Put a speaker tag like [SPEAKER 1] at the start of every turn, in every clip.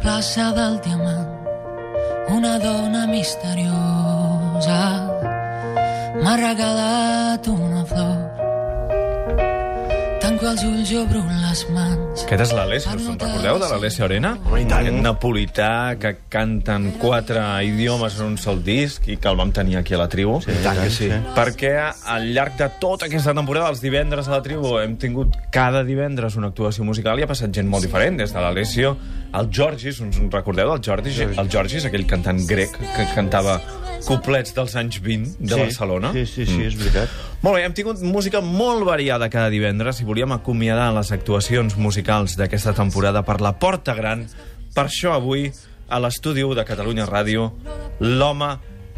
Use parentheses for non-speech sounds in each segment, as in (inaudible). [SPEAKER 1] plaça del diamant una dona misteriosa m'ha regalat una flor tanco els ulls i obro les mans
[SPEAKER 2] Aquest és l'Alessio, us en recordeu de l'Alessio Arena?
[SPEAKER 3] i tant.
[SPEAKER 2] Aquest napolità que canta en quatre idiomes en un sol disc i que el vam tenir aquí a la tribu. Sí,
[SPEAKER 3] tant que sí.
[SPEAKER 2] Perquè al llarg de tota aquesta temporada, els divendres a la tribu, hem tingut cada divendres una actuació musical i ha passat gent molt diferent, des de l'Alessio, el Georgis, us en recordeu del Georgis? El Georgis, aquell cantant grec que cantava couplets dels anys 20 de Barcelona.
[SPEAKER 3] Sí, sí, sí, és veritat.
[SPEAKER 2] Molt bé, hem tingut música molt variada cada divendres i volíem acomiadar les actuacions musicals d'aquesta temporada per la Porta Gran. Per això avui, a l'estudi u de Catalunya Ràdio, l'home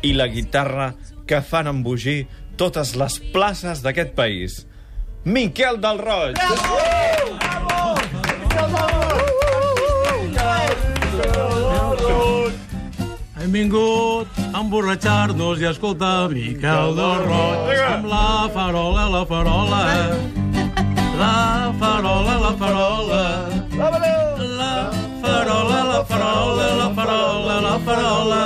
[SPEAKER 2] i la guitarra que fan embogir totes les places d'aquest país. Miquel del Roig!
[SPEAKER 4] Hem vingut a emborratxar-nos i a escoltar Miquel del Roig amb la farola, la farola. La farola, la farola. La farola, la farola, la farola, la farola.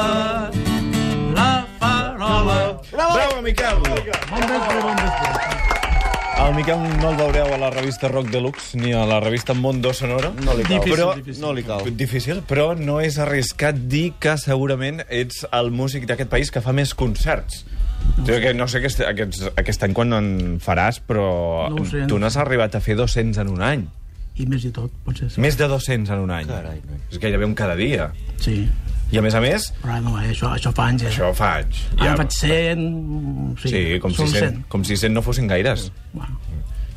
[SPEAKER 4] La farola.
[SPEAKER 2] Bravo, Miquel!
[SPEAKER 4] Bon vespre, bon vespre.
[SPEAKER 2] El Miquel no el veureu a la revista Rock Deluxe ni a la revista Mondo Sonora. No li
[SPEAKER 4] cal.
[SPEAKER 2] Però,
[SPEAKER 4] Difícil, difícil.
[SPEAKER 2] No li cal. Difícil, però no és arriscat dir que segurament ets el músic d'aquest país que fa més concerts. Jo que no sé aquest, aquest, aquest any quan en faràs, però
[SPEAKER 4] No ho sé.
[SPEAKER 2] tu n'has arribat a fer 200 en un any.
[SPEAKER 4] I més i tot, potser.
[SPEAKER 2] Més de 200 en un any. Carai, és gairebé un cada dia.
[SPEAKER 4] Sí,
[SPEAKER 2] I a més a més,
[SPEAKER 4] però no, eh, això, això fa anys, eh?
[SPEAKER 2] això fa anys.
[SPEAKER 4] Ara faig 100... Sí,
[SPEAKER 2] Sí, com si,
[SPEAKER 4] són
[SPEAKER 2] cent, com si cent no fossin gaires.
[SPEAKER 4] Bueno.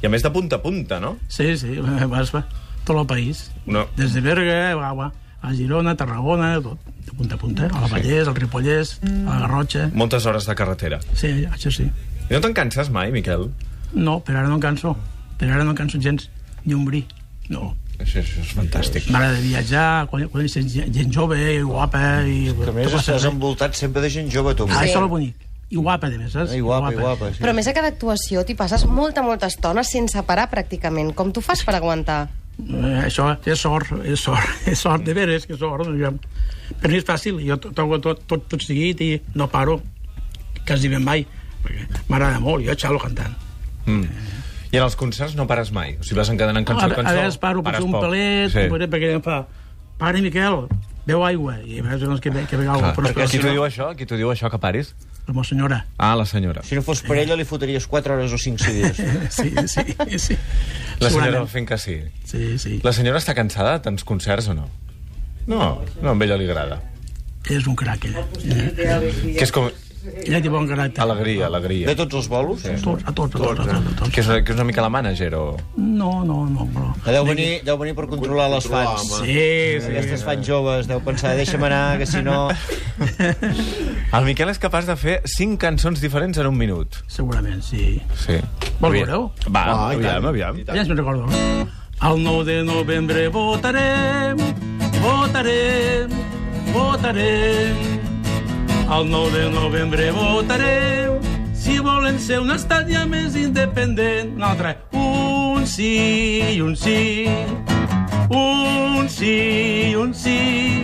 [SPEAKER 2] I a més de punta a punta, no?
[SPEAKER 4] Sí, sí, (laughs) vas a tot el país.
[SPEAKER 2] No.
[SPEAKER 4] Des de Berga, va, va, a Girona, Tarragona, tot, de punta a punta. A la Vallès, al Ripollès, a la Garrotxa...
[SPEAKER 2] Moltes hores de carretera.
[SPEAKER 4] Sí, això sí.
[SPEAKER 2] I no te'n canses mai, Miquel?
[SPEAKER 4] No, per ara no em canso. Per ara no em canso gens. Ni un bri. No.
[SPEAKER 2] Això, això és fantàstic.
[SPEAKER 4] M'agrada viatjar, quan, quan gent, gent jove i guapa... I,
[SPEAKER 3] Que a més
[SPEAKER 4] tot
[SPEAKER 3] estàs
[SPEAKER 4] passa, eh?
[SPEAKER 3] envoltat sempre de gent jove, tu.
[SPEAKER 4] Ah,
[SPEAKER 3] Ai,
[SPEAKER 4] això és el bonic. I guapa, a més, saps?
[SPEAKER 3] guapa, Ah, i guapa. Sí.
[SPEAKER 5] Però a més a cada actuació t'hi passes molta, molta estona sense parar pràcticament. Com tu fas per aguantar?
[SPEAKER 4] Eh, això és sort, és sort, (laughs) és sort, de veres que és sort. diguem. Per mi és fàcil, jo to- toco tot, tot, tot seguit i no paro, quasi ben mai, perquè m'agrada molt, jo xalo cantant.
[SPEAKER 2] Mm. I en els concerts no pares mai? O sigui, vas encadenant cançó
[SPEAKER 4] a,
[SPEAKER 2] a cançó?
[SPEAKER 4] a vegades paro,
[SPEAKER 2] pares
[SPEAKER 4] potser un
[SPEAKER 2] poc.
[SPEAKER 4] palet, sí. un palet, perquè em fa, pare Miquel, beu aigua, i a vegades doncs, que, be- que beu
[SPEAKER 2] Clar.
[SPEAKER 4] aigua, però és que
[SPEAKER 2] Ah. Qui
[SPEAKER 4] si
[SPEAKER 2] t'ho diu
[SPEAKER 4] no,
[SPEAKER 2] això? Qui t'ho diu això que paris?
[SPEAKER 4] la meva senyora, (laughs)
[SPEAKER 2] Ah, la senyora.
[SPEAKER 3] Si no fos per ella, li fotries 4 hores o 5 seguides.
[SPEAKER 4] sí, sí, sí.
[SPEAKER 2] La senyora
[SPEAKER 4] Segurament.
[SPEAKER 2] fent que sí.
[SPEAKER 4] Sí, sí,
[SPEAKER 2] La senyora està cansada de tants concerts o no? No, no, a ella li agrada.
[SPEAKER 4] és un crac, eh? ella. Ella,
[SPEAKER 2] Que és com...
[SPEAKER 4] ella té bon caràcter.
[SPEAKER 2] Alegria,
[SPEAKER 3] De
[SPEAKER 2] alegria.
[SPEAKER 3] tots els bolos?
[SPEAKER 4] A tots, a tots, a tots, a tots. A tots.
[SPEAKER 2] Que és, una, que és una mica la manager o...
[SPEAKER 4] No, no, no, però...
[SPEAKER 3] Deu venir, deu venir per controlar les fans.
[SPEAKER 4] Sí, sí.
[SPEAKER 3] Aquestes fans joves, deu pensar, deixa'm anar, que si no...
[SPEAKER 2] El Miquel és capaç de fer cinc cançons diferents en un minut.
[SPEAKER 4] Segurament, sí.
[SPEAKER 2] Sí. Aviam.
[SPEAKER 4] Vol veure-ho?
[SPEAKER 2] Va,
[SPEAKER 3] Ah, i tant.
[SPEAKER 2] aviam, aviam.
[SPEAKER 4] Ja me'n recordo. eh? El 9 de novembre votarem, votarem, votarem. El 9 de novembre votarem si volen ser un estat ja més independent. Un altre. Un sí i un sí. Un sí i un sí.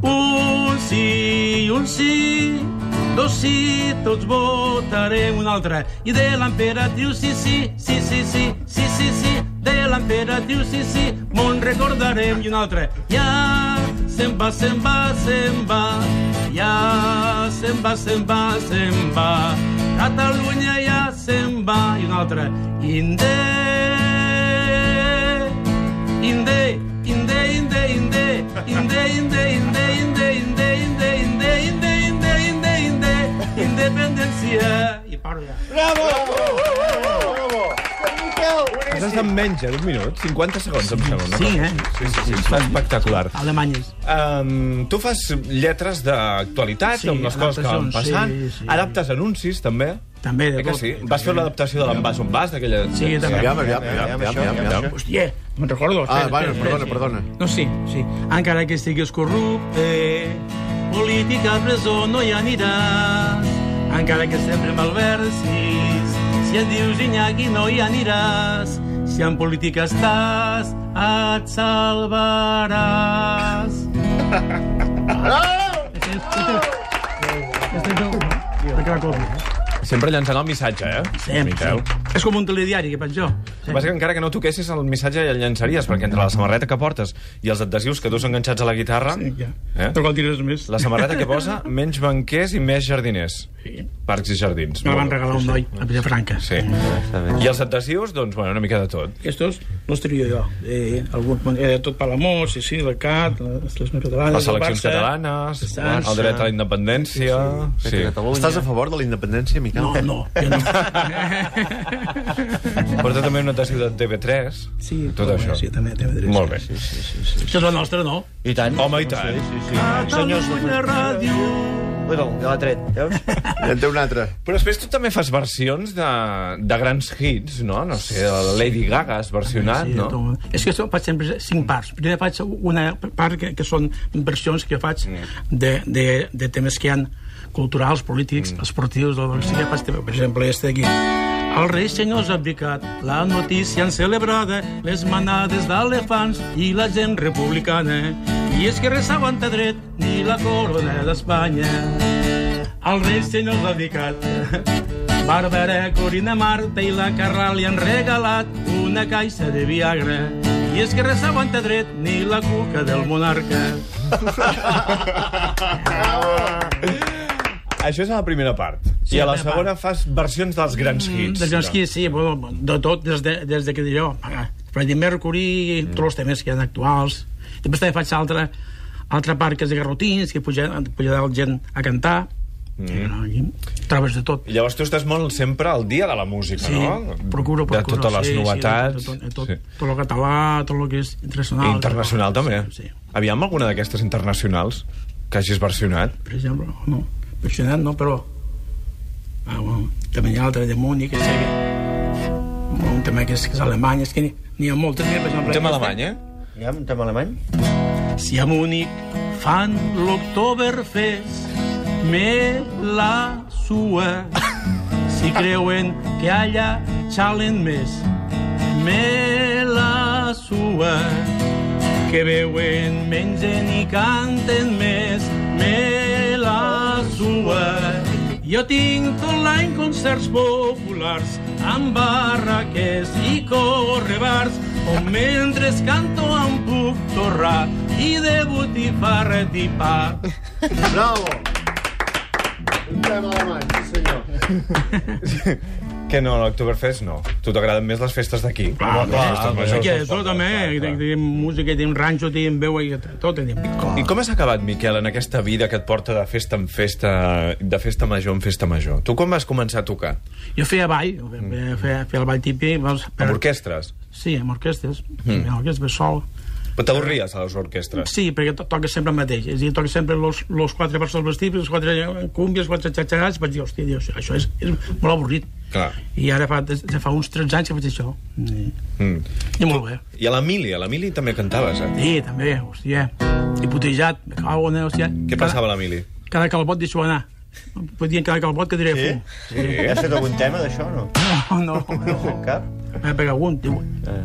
[SPEAKER 4] Un sí i un sí. Dos sí, tots votarem un altre. I de l'emperatriu sí, sí, sí, sí, sí, sí, sí, sí. De l'emperatriu sí, sí, mon recordarem i un altre. Ja se'n va, se'n va, se'n va. Ja se'n va, se'n va, se'n va. Catalunya ja se'n va. I un altre. Inde... Inde, inde, inde, inde, inde, inde, inde, inde, inde, inde, inde, inde, inde, inde, inde, independència. I paro ja.
[SPEAKER 2] Has estat menys d'un minut, 50 segons, em sembla. una
[SPEAKER 4] Sí,
[SPEAKER 2] cosa
[SPEAKER 4] eh?
[SPEAKER 2] així. Sí, sí, sí, està espectacular.
[SPEAKER 4] Alemanyes.
[SPEAKER 2] Um, tu fas lletres d'actualitat,
[SPEAKER 4] Sí,
[SPEAKER 2] sí, amb les coses que van
[SPEAKER 4] adaptacions,
[SPEAKER 2] passant.
[SPEAKER 4] sí,
[SPEAKER 2] Sí,
[SPEAKER 4] sí.
[SPEAKER 2] sí. Adaptes anuncis, també.
[SPEAKER 4] També, de
[SPEAKER 2] Eh que
[SPEAKER 4] tot.
[SPEAKER 2] sí? Vas fer l'adaptació de l'envàs on vas, d'aquella...
[SPEAKER 4] Sí, també.
[SPEAKER 6] Aviam, aviam, aviam, aviam, aviam, aviam.
[SPEAKER 4] Hòstia, me'n recordo.
[SPEAKER 6] Ah,
[SPEAKER 4] espera,
[SPEAKER 6] bueno,
[SPEAKER 4] espera,
[SPEAKER 6] perdona,
[SPEAKER 4] espera,
[SPEAKER 6] perdona.
[SPEAKER 4] No, sí, sí. Encara que estiguis corrupte, política a presó no hi aniràs. Encara que sempre malversis, si et dius Iñaki no hi aniràs. Si en política estàs, et salvaràs. Este és el... De Cracòvia.
[SPEAKER 2] Sempre llançant el missatge, eh?
[SPEAKER 4] Sempre.
[SPEAKER 2] Miquel.
[SPEAKER 4] És com un telediari, que faig jo.
[SPEAKER 2] El que passa és que encara que no toquessis el missatge ja el llançaries, perquè entre la samarreta que portes i els adhesius que dus enganxats a la guitarra,
[SPEAKER 4] Sí, ja.
[SPEAKER 2] Eh?
[SPEAKER 4] No cal dir res més.
[SPEAKER 2] la samarreta que posa, menys banquers i més jardiners.
[SPEAKER 4] Sí.
[SPEAKER 2] Parcs i jardins.
[SPEAKER 4] Me la
[SPEAKER 2] Molt
[SPEAKER 4] van
[SPEAKER 2] bé.
[SPEAKER 4] regalar un noi a Villafranca.
[SPEAKER 2] Sí. I els adhesius, doncs, bueno, una mica de tot.
[SPEAKER 4] Estos los trio jo. Eh, algun, eh, tot Palamós, sí, sí, la CAT, les, les meves catalanes,
[SPEAKER 2] Les seleccions
[SPEAKER 4] el Barça.
[SPEAKER 2] catalanes,
[SPEAKER 4] Barça.
[SPEAKER 2] el dret a la independència... Sí.
[SPEAKER 6] Estàs a favor de la independència, Miquel?
[SPEAKER 4] No, no, jo
[SPEAKER 2] (laughs)
[SPEAKER 4] no.
[SPEAKER 2] Porta també un adhesiu de TV3.
[SPEAKER 4] Sí,
[SPEAKER 2] tot
[SPEAKER 4] però,
[SPEAKER 2] això.
[SPEAKER 4] Sí, també, també dret.
[SPEAKER 2] Molt bé.
[SPEAKER 4] Això és la nostra, no?
[SPEAKER 3] I tant.
[SPEAKER 2] Home, i tant.
[SPEAKER 3] Sí, sí, sí. Senyors,
[SPEAKER 4] Catalunya Ràdio.
[SPEAKER 3] Ui, no, ja l'ha tret, veus?
[SPEAKER 6] En té un altre.
[SPEAKER 2] Però després tu també fas versions de, de grans hits, no? No sé, la Lady Gaga has versionat,
[SPEAKER 4] Sí,
[SPEAKER 2] no?
[SPEAKER 4] no. És que això faig sempre cinc parts. Primer faig una part que, que són versions que faig
[SPEAKER 2] Mm.
[SPEAKER 4] de, de, de temes que hi han culturals,
[SPEAKER 2] Mm.
[SPEAKER 4] polítics, esportius, doncs, del que sigui, faig també, per exemple, este aquí. El rei senyor ha abdicat, la notícia han celebrada, les manades d'elefants i la gent republicana. I és que res aguanta dret ni la corona d'Espanya. El rei senyor els ha dedicat. (laughs) Bàrbara, Corina, Marta i la Carral li han regalat una caixa de Viagra. I és que res aguanta dret ni la cuca del monarca.
[SPEAKER 2] Això és a la primera part.
[SPEAKER 4] Sí,
[SPEAKER 2] I a la
[SPEAKER 4] la primera Mm,
[SPEAKER 2] segona fas versions dels grans hits.
[SPEAKER 4] De Jonsky, Doncs sí, bueno, de tot, des de, des de que dic jo. eh, Freddie Mercury, mm. tots els temes que hi ha actuals. Després també faig altra, altra part que és de garrotins, que puja, puja la gent a cantar. Mm. Trobes de tot.
[SPEAKER 2] I Llavors tu estàs molt sempre al dia de la música,
[SPEAKER 4] Sí,
[SPEAKER 2] no?
[SPEAKER 4] procuro, procuro.
[SPEAKER 2] De totes les
[SPEAKER 4] sí,
[SPEAKER 2] novetats.
[SPEAKER 4] Sí, de, tot, de
[SPEAKER 2] Sí.
[SPEAKER 4] tot, tot el català, tot el que és internacional.
[SPEAKER 2] I internacional també.
[SPEAKER 4] Sí, sí.
[SPEAKER 2] Aviam alguna d'aquestes internacionals que hagis versionat.
[SPEAKER 4] Per exemple, no, passionat no, però... Ah, bueno, també hi ha altre de Múnich, que sé que... Un tema que és, que és alemany, és que n'hi- n'hi ha moltes. Mira, per exemple,
[SPEAKER 2] Un tema
[SPEAKER 4] aquesta.
[SPEAKER 2] alemany, eh?
[SPEAKER 3] Hi ha un tema alemany?
[SPEAKER 4] Si a Múnich fan l'Oktoberfest, me la sua. Si creuen que allà xalen més, me la sua. Que beuen, mengen i canten més, me la sua. Jo tinc tot l'any concerts populars amb barraques i correbars on mentre canto em puc torrar i de botifarra tipar.
[SPEAKER 6] Bravo! Un tema alemany, sí senyor.
[SPEAKER 2] Que no, l'Octoberfest no. Tu t'agraden més les festes d'aquí.
[SPEAKER 4] Clar,
[SPEAKER 2] Les festes
[SPEAKER 4] clar,
[SPEAKER 2] majors,
[SPEAKER 4] aquí hi ha de
[SPEAKER 2] les
[SPEAKER 4] tot,
[SPEAKER 2] pobles,
[SPEAKER 4] també.
[SPEAKER 2] clar, clar.
[SPEAKER 4] Tenim música, tenim ranxo, tenim veu, i tot, tenim picó.
[SPEAKER 2] I com has acabat, Miquel, en aquesta vida que et porta de festa en festa, de festa major en festa major? Tu quan vas començar a tocar?
[SPEAKER 4] Jo feia ball, feia, feia, feia el ball típic. Doncs, per...
[SPEAKER 2] Amb orquestres?
[SPEAKER 4] Sí, amb orquestes. Mm. Amb orquestres, sol.
[SPEAKER 2] Però t'avorries a les orquestres?
[SPEAKER 4] Sí, perquè to toca sempre el mateix. És a dir, toca sempre los, los quatre versos vestits, les quatre eh, cúmbies, els quatre xatxarats. Vaig dir, hòstia, Dios, això és, és molt avorrit.
[SPEAKER 2] Clar.
[SPEAKER 4] I ara fa, des de fa uns 13 anys que faig això. I,
[SPEAKER 2] Mm.
[SPEAKER 4] i molt bé.
[SPEAKER 2] I a l'Emili, a l'Emili també cantaves, eh?
[SPEAKER 4] Sí, també, hòstia. I putejat, me cago en, el, hòstia.
[SPEAKER 2] Què passava a l'Emili?
[SPEAKER 4] Cada, cada calbot deixo anar. Podien cada calbot que diré fum.
[SPEAKER 3] Has fet algun tema d'això, (laughs) no?
[SPEAKER 4] No, no, no.
[SPEAKER 3] Cap?
[SPEAKER 4] Me pega un, diu,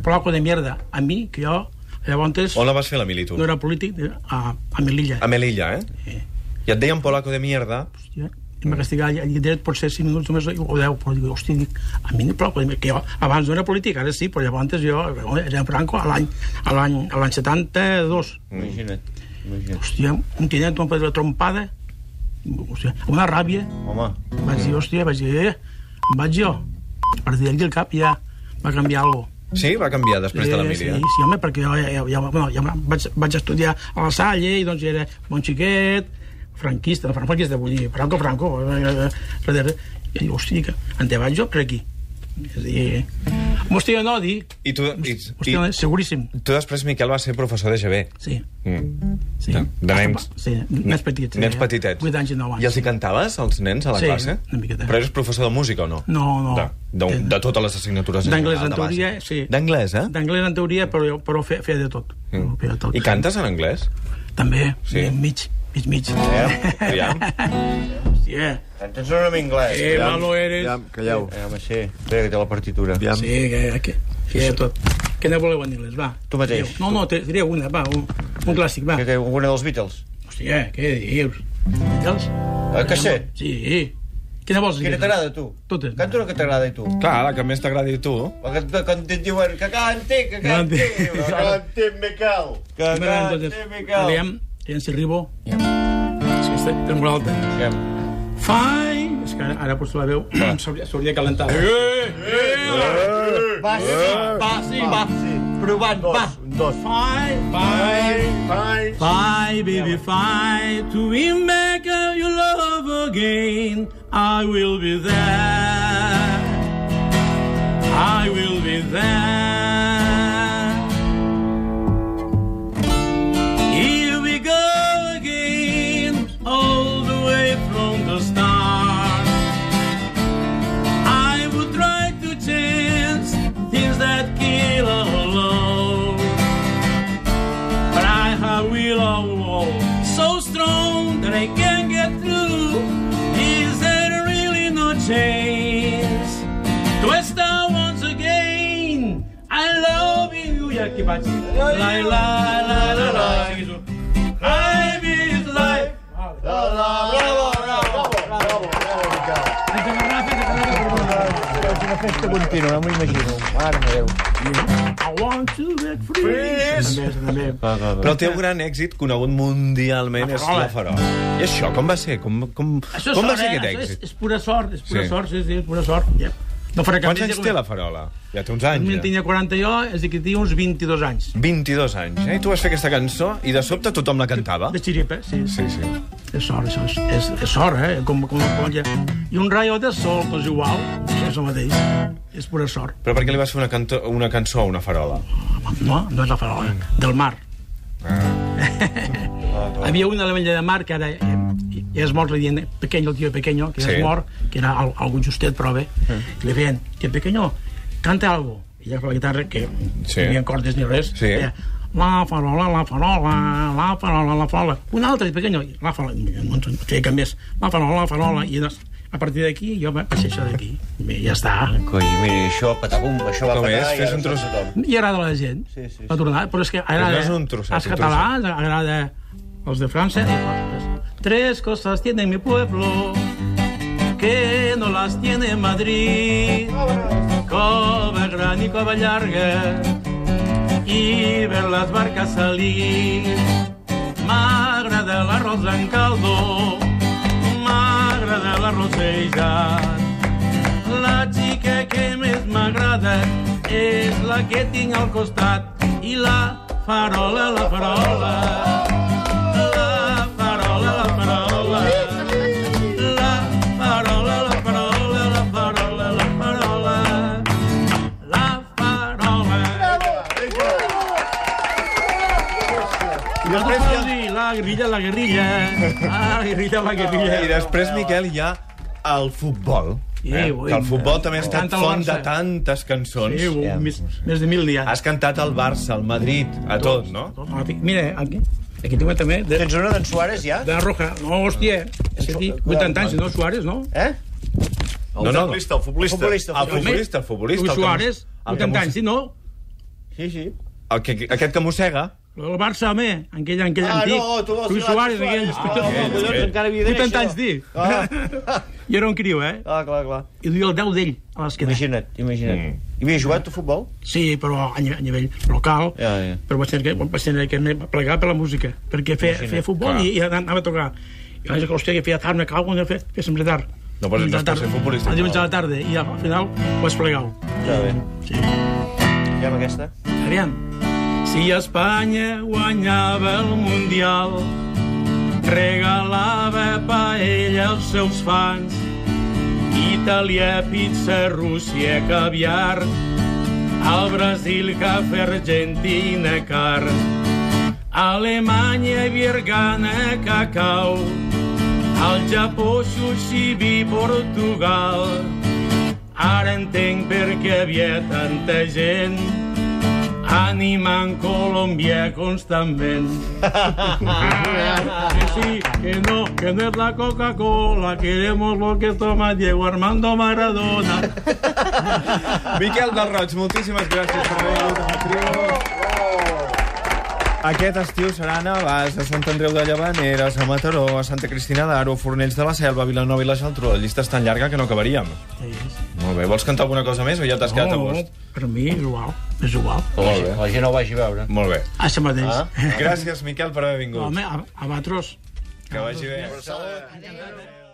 [SPEAKER 4] ploco de mierda. A mi, que jo, llavors,
[SPEAKER 2] On la vas fer, l'Emili, tu?
[SPEAKER 4] no era polític, a, a Melilla.
[SPEAKER 2] A Melilla, eh? I et deien polaco de mierda.
[SPEAKER 4] hòstia, em va castigar allà, allà dret potser 5 minuts només, o 10, però dic, hòstia, dic, a mi no em preocupa, que jo abans no era polític, ara sí, però llavors jo era Franco a l'any a l'any a l'any 72.
[SPEAKER 3] Mm. Imagina't. Imagina't.
[SPEAKER 4] Hòstia, un tinet, una pedra trompada, hòstia, una ràbia,
[SPEAKER 3] Home,
[SPEAKER 4] vaig
[SPEAKER 2] Mm.
[SPEAKER 4] dir, hòstia, vaig dir, eh, em vaig jo. A partir d'aquí el cap ja va canviar alguna cosa.
[SPEAKER 2] Sí, va canviar després de
[SPEAKER 4] sí,
[SPEAKER 2] l'Emili, eh?
[SPEAKER 4] sí, home, perquè jo, ja, ja, bueno, ja vaig, vaig estudiar a la Salle i doncs era bon xiquet, franquista, no franquista, vull dir, Franco, Franco, eh, eh, eh, i dic, hòstia, que en te vaig jo per aquí. És a dir, hòstia, no, dic,
[SPEAKER 2] I tu, i, i,
[SPEAKER 4] hòstia, no, seguríssim,
[SPEAKER 2] tu després, Miquel, vas ser professor de GB.
[SPEAKER 4] sí.
[SPEAKER 2] Mm.
[SPEAKER 4] Sí.
[SPEAKER 2] De- de nens.
[SPEAKER 4] Sí, nens petits.
[SPEAKER 2] Nens
[SPEAKER 4] eh,
[SPEAKER 2] petitets.
[SPEAKER 4] 8 anys i 9 anys.
[SPEAKER 2] I els hi cantaves, als nens, a la
[SPEAKER 4] Sí,
[SPEAKER 2] classe?
[SPEAKER 4] una miqueta.
[SPEAKER 2] Però eres professor de música o no?
[SPEAKER 4] No, no. Eh,
[SPEAKER 2] De, de, de totes les assignatures. en
[SPEAKER 4] D'anglès,
[SPEAKER 2] general,
[SPEAKER 4] en
[SPEAKER 2] de base.
[SPEAKER 4] teoria, sí.
[SPEAKER 2] D'anglès, eh?
[SPEAKER 4] D'anglès en teoria, però, jo- però feia, feia de tot.
[SPEAKER 2] Mm.
[SPEAKER 4] Feia de tot.
[SPEAKER 2] I cantes en
[SPEAKER 4] (laughs)
[SPEAKER 2] anglès?
[SPEAKER 4] També,
[SPEAKER 2] Sí. Eh?
[SPEAKER 4] sí. mig, mig, mig. (laughs) eh.
[SPEAKER 2] Aviam.
[SPEAKER 4] Hòstia.
[SPEAKER 3] cantes una mica anglès.
[SPEAKER 4] Eh, malo eres.
[SPEAKER 6] Ja, calleu.
[SPEAKER 3] Eh, home, sí. Espera, que té la partitura.
[SPEAKER 6] Ja.
[SPEAKER 4] Sí, que, que, que hi ha tot. Que no voleu en anglès, va.
[SPEAKER 3] Tu mateix.
[SPEAKER 4] Direu. No, no, te diré una, va. Un. Un clàssic, va.
[SPEAKER 3] Que té alguna dels Beatles.
[SPEAKER 4] Hòstia, què dius? Beatles?
[SPEAKER 3] Ah, que sé.
[SPEAKER 4] Sí. Quina vols?
[SPEAKER 3] Quina
[SPEAKER 4] Beatles?
[SPEAKER 3] t'agrada, tu?
[SPEAKER 4] Totes.
[SPEAKER 3] Canta una que t'agrada, tu.
[SPEAKER 2] Clar, la que més t'agradi a tu.
[SPEAKER 3] La que, que, quan et diuen que canti, que canti.
[SPEAKER 4] Canti.
[SPEAKER 3] Que canti, Miquel. Que
[SPEAKER 4] M'agraden
[SPEAKER 3] canti,
[SPEAKER 4] totes.
[SPEAKER 3] Miquel.
[SPEAKER 4] Aviam, Nancy Ribo. És que està molt alta.
[SPEAKER 3] Aviam.
[SPEAKER 4] Fai! És que ara, ara poso la veu. S'hauria (clears throat) s'hauria calentat. Eh, eh,
[SPEAKER 3] Va, sí,
[SPEAKER 4] va, sí, va. Provant, va.
[SPEAKER 3] un dos.
[SPEAKER 4] Fai, fai.
[SPEAKER 6] Bye.
[SPEAKER 4] Fly, baby, fly to win back of your love again. I will be there. I will be there. Here we go again, all the way from the start. I would try to change things that kill our love. But I have will of wall so strong that I can't get through. Is there really no chance? Twist out once again. I love you. Yeah, keep on. La la la la la. Life is life.
[SPEAKER 3] Bravo, bravo, bravo. És una festa contínua, no m'ho imagino. Mare meva.
[SPEAKER 4] I want to get free. També, també.
[SPEAKER 2] Però el teu
[SPEAKER 4] eh?
[SPEAKER 2] gran èxit, conegut mundialment, és La Farola. I això, com va ser? Com, com,
[SPEAKER 4] Això és
[SPEAKER 2] com va
[SPEAKER 4] sort,
[SPEAKER 2] ser
[SPEAKER 4] eh?
[SPEAKER 2] aquest
[SPEAKER 4] Això és,
[SPEAKER 2] èxit?
[SPEAKER 4] és pura sort, és pura
[SPEAKER 2] Sí.
[SPEAKER 4] sí. sort, sí, sí, és pura sort. Yeah. No faré cap
[SPEAKER 2] Quants anys té La Farola? Ja té uns anys.
[SPEAKER 4] En
[SPEAKER 2] ja.
[SPEAKER 4] tenia 40 jo, és a dir, que tenia uns 22 anys.
[SPEAKER 2] 22 anys, eh? I tu vas fer aquesta cançó i de sobte tothom la cantava.
[SPEAKER 4] De xiripa, sí. sí.
[SPEAKER 2] Sí, sí.
[SPEAKER 4] És sort, això. És, és, és sort, eh? Com, com, com ja. I un rayo de sol, doncs igual, això és el mateix. És pura sort.
[SPEAKER 2] Però per què li vas fer una, canto, una cançó a una farola?
[SPEAKER 4] No, no és la farola. Del mar.
[SPEAKER 2] Ah.
[SPEAKER 4] Hi (laughs) havia un a l'Ametlla de Mar que ara eh, ja és mort, li diuen eh, pequeño, el tio pequeño, que ja
[SPEAKER 2] Sí. Ah.
[SPEAKER 4] és mort, que era al, algun justet, però bé. Li deien, que pequeño, canta algo. I ja fa la guitarra, que
[SPEAKER 2] Sí.
[SPEAKER 4] sí. no hi havia cordes ni res.
[SPEAKER 2] Sí.
[SPEAKER 4] deia, La farola, la farola, la farola, la farola. Un altre, pequeño, la farola. No, no, no feia cap més. La farola, la farola. I doncs, a partir d'aquí, jo va passar això d'aquí. Bé, ja està.
[SPEAKER 3] Coi, mira, això, patabum, això va
[SPEAKER 2] Com
[SPEAKER 3] petar.
[SPEAKER 2] és?
[SPEAKER 3] i
[SPEAKER 2] Fes
[SPEAKER 3] ara
[SPEAKER 2] un tros.
[SPEAKER 3] sap tothom.
[SPEAKER 4] I agrada a la gent.
[SPEAKER 3] Sí, sí,
[SPEAKER 4] La tornada, però és que agrada
[SPEAKER 2] Però no és un trosset,
[SPEAKER 4] als
[SPEAKER 2] un
[SPEAKER 4] catalans, agrada als de França. Tres cosas tiene mi pueblo que no las tiene Madrid. Cova gran y cova llarga i ver les barques salir. M'agrada l'arròs en caldo, m'agrada l'arròs feijat. La xica que més m'agrada és la que tinc al costat i la farola, la farola. La farola, la farola. La farola, la farola, la farola, la farola. La farola. I després hi ha... La guerrilla, la guerrilla. La guerrilla, la guerrilla.
[SPEAKER 2] I després, Miquel, hi ha el futbol. Eh?
[SPEAKER 4] Eh, ui,
[SPEAKER 2] que el futbol també ha estat
[SPEAKER 4] Canta el
[SPEAKER 2] font de
[SPEAKER 4] Barça.
[SPEAKER 2] tantes cançons.
[SPEAKER 4] Sí,
[SPEAKER 3] Ja,
[SPEAKER 4] més, més de mil n'hi ha.
[SPEAKER 2] Has cantat al Barça, al Madrid, a tot, no?
[SPEAKER 4] Ah, fi- Mira, aquí, aquí tinc també de,
[SPEAKER 3] Tens una d'en Suárez, ja?
[SPEAKER 4] de Roja. No, hòstia, és
[SPEAKER 2] eh,
[SPEAKER 4] aquí, 80 anys, no, Suárez, no?
[SPEAKER 3] Eh?
[SPEAKER 2] No, no.
[SPEAKER 6] futbolista, el futbolista.
[SPEAKER 3] Futbolista.
[SPEAKER 2] El futbolista, el futbolista.
[SPEAKER 4] Luis
[SPEAKER 2] el que-
[SPEAKER 4] Suárez,
[SPEAKER 2] el que
[SPEAKER 4] 80 anys,
[SPEAKER 2] mosse-
[SPEAKER 4] sí, no?
[SPEAKER 3] Sí, sí.
[SPEAKER 2] El que, aquest que
[SPEAKER 4] (laughs)
[SPEAKER 2] mossega,
[SPEAKER 4] El Barça, home, aquell, aquell
[SPEAKER 3] Ah,
[SPEAKER 4] antic.
[SPEAKER 3] no, tu vols
[SPEAKER 4] Luis
[SPEAKER 3] dir l'altre
[SPEAKER 4] Suárez, aquell.
[SPEAKER 3] Suárez. Ah, home, collons, encara viuré,
[SPEAKER 4] 80 anys,
[SPEAKER 3] això.
[SPEAKER 4] dic.
[SPEAKER 3] Ah.
[SPEAKER 4] Jo era un criu, eh?
[SPEAKER 3] Ah, clar, clar.
[SPEAKER 4] I duia el 10 d'ell a l'esquena.
[SPEAKER 3] Imagina't, imagina't. Mm. I havia jugat tu a futbol?
[SPEAKER 4] Sí, però a, nivell- a nivell local.
[SPEAKER 3] Ja, ja.
[SPEAKER 4] Però vaig tenir que, vaig tenir que me- plegar per la música, perquè feia, feia futbol i, i anava a tocar. I vaig dir, hòstia, que feia tard, me cago, no feia, feia sempre tard.
[SPEAKER 2] No, però si
[SPEAKER 4] Diumenge
[SPEAKER 2] estàs
[SPEAKER 4] a la tarda.
[SPEAKER 2] per ser futbolista,
[SPEAKER 4] El Diumenge a la
[SPEAKER 2] no.
[SPEAKER 4] tarda, i al final ho has plegat.
[SPEAKER 3] Ja bé.
[SPEAKER 4] Sí.
[SPEAKER 3] I amb aquesta?
[SPEAKER 4] Aviam. Si Espanya guanyava el Mundial, regalava paella als seus fans. Itàlia, pizza, Rússia, caviar. Al Brasil, cafè, Argentina, car. Alemanya, virgana, cacau. Al Japó, sushi, vi, Portugal. Ara entenc per què hi havia tanta gent animant Colòmbia constantment. que sí, que no, que no es la Coca-Cola, queremos lo que toma Diego Armando Maradona.
[SPEAKER 2] Miquel del Roig, moltíssimes gràcies per haver vingut. Aquest estiu serà a Navàs, a Sant Andreu de Llavaneres, a Mataró, a Santa Cristina d'Aro, Fornells de la Selva, Vilanova i la Geltrú. La llista és tan llarga que no acabaríem. Molt bé, vols cantar alguna cosa més o ja t'has quedat a gust?
[SPEAKER 4] per mi és igual, és igual. Ah,
[SPEAKER 2] Molt bé.
[SPEAKER 7] La gent no ho vagi a veure.
[SPEAKER 2] Molt bé.
[SPEAKER 4] Això mateix.
[SPEAKER 3] Ah.
[SPEAKER 2] Gràcies, Miquel, per haver vingut.
[SPEAKER 4] Home, a, a vosaltres.
[SPEAKER 2] Que vagi bé.
[SPEAKER 4] Adéu.